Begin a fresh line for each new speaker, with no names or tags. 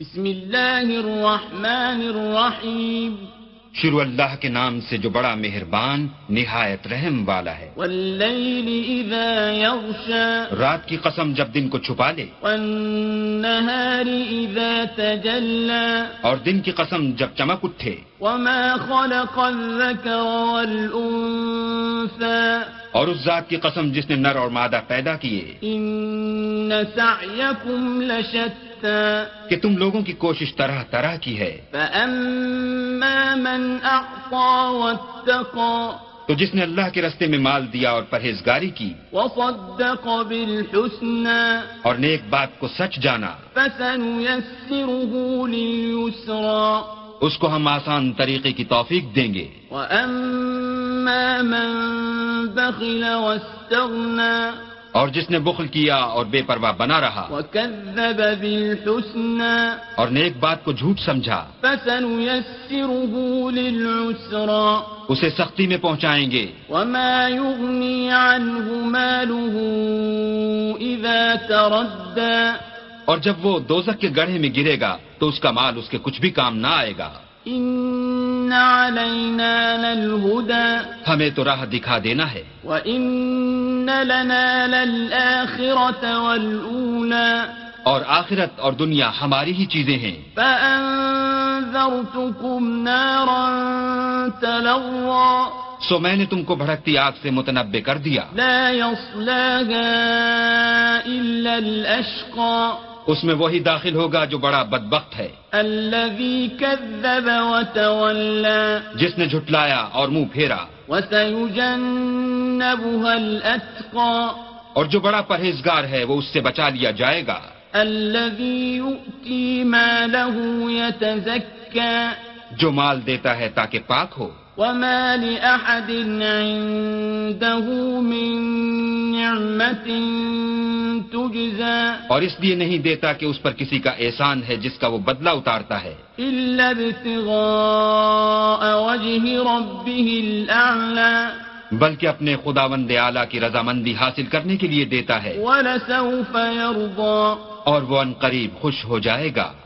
بسم الله الرحمن الرحيم
शुरू अल्लाह के नाम से जो बड़ा मेहरबान निहायत रहम वाला है
والليل إذا يغشى
रात की कसम जब दिन को छुपा ले
والنهار إذا تجلى
और दिन की कसम जब चमक उठे
وما خلق الذكر والأنثى
और उस जात की कसम जिसने नर और मादा पैदा किए
إن سعيكم لشتى
कि तुम लोगों की कोशिश तरह तरह की है
فأما من أعطى واتقى
तो जिसने अल्लाह के रास्ते में माल दिया और परहेजगारी की
وصدق بالحسنى
और नेक बात को सच जाना
فسنيسره لليسرى
उसको हम आसान तरीके की तौफीक देंगे
وأما من بخل واستغنى
और जिसने बुखल किया और बेपरवाह बना रहा
وكذب بالحسنى
और नेक बात को झूठ समझा
فسنيسره للعسرى
उसे सख्ती में पहुंचाएंगे
وما يغني عنه ماله إذا تردى
और जब वो दोजक के गढ़े में गिरेगा तो उसका माल उसके कुछ भी काम ना आएगा
إن علينا للهدى
हमें तो राह दिखा देना है
وإن لنا للآخرة والأولى
और आखिरत और दुनिया हमारी ही चीजें हैं
فأنذرتكم نارا تلوى
सो मैंने तुमको भड़कती आग से मुतनबे कर दिया
لا يصلاها إلا الأشقى
उसमें वही दाखिल होगा जो बड़ा बदबख्त है
الذي كذب وتولى
जिसने झुटलाया और मुंह फेरा
وسيجنبها الأتقى
और जो बड़ा परहेजगार है वो उससे बचा लिया जाएगा
الذي يؤتي ماله يتزكى
जो माल देता है ताकि पाक हो
وما لأحد عنده من نعمة تجزى
और इसलिए नहीं देता कि उस पर किसी का एहसान है जिसका वो बदला उतारता है
إلا ابتغاء وجه ربه الأعلى
बल्कि अपने खुदावंद आला की रजामंदी हासिल करने के लिए देता है
ولسوف يرضى
और वो अनकरीब खुश हो जाएगा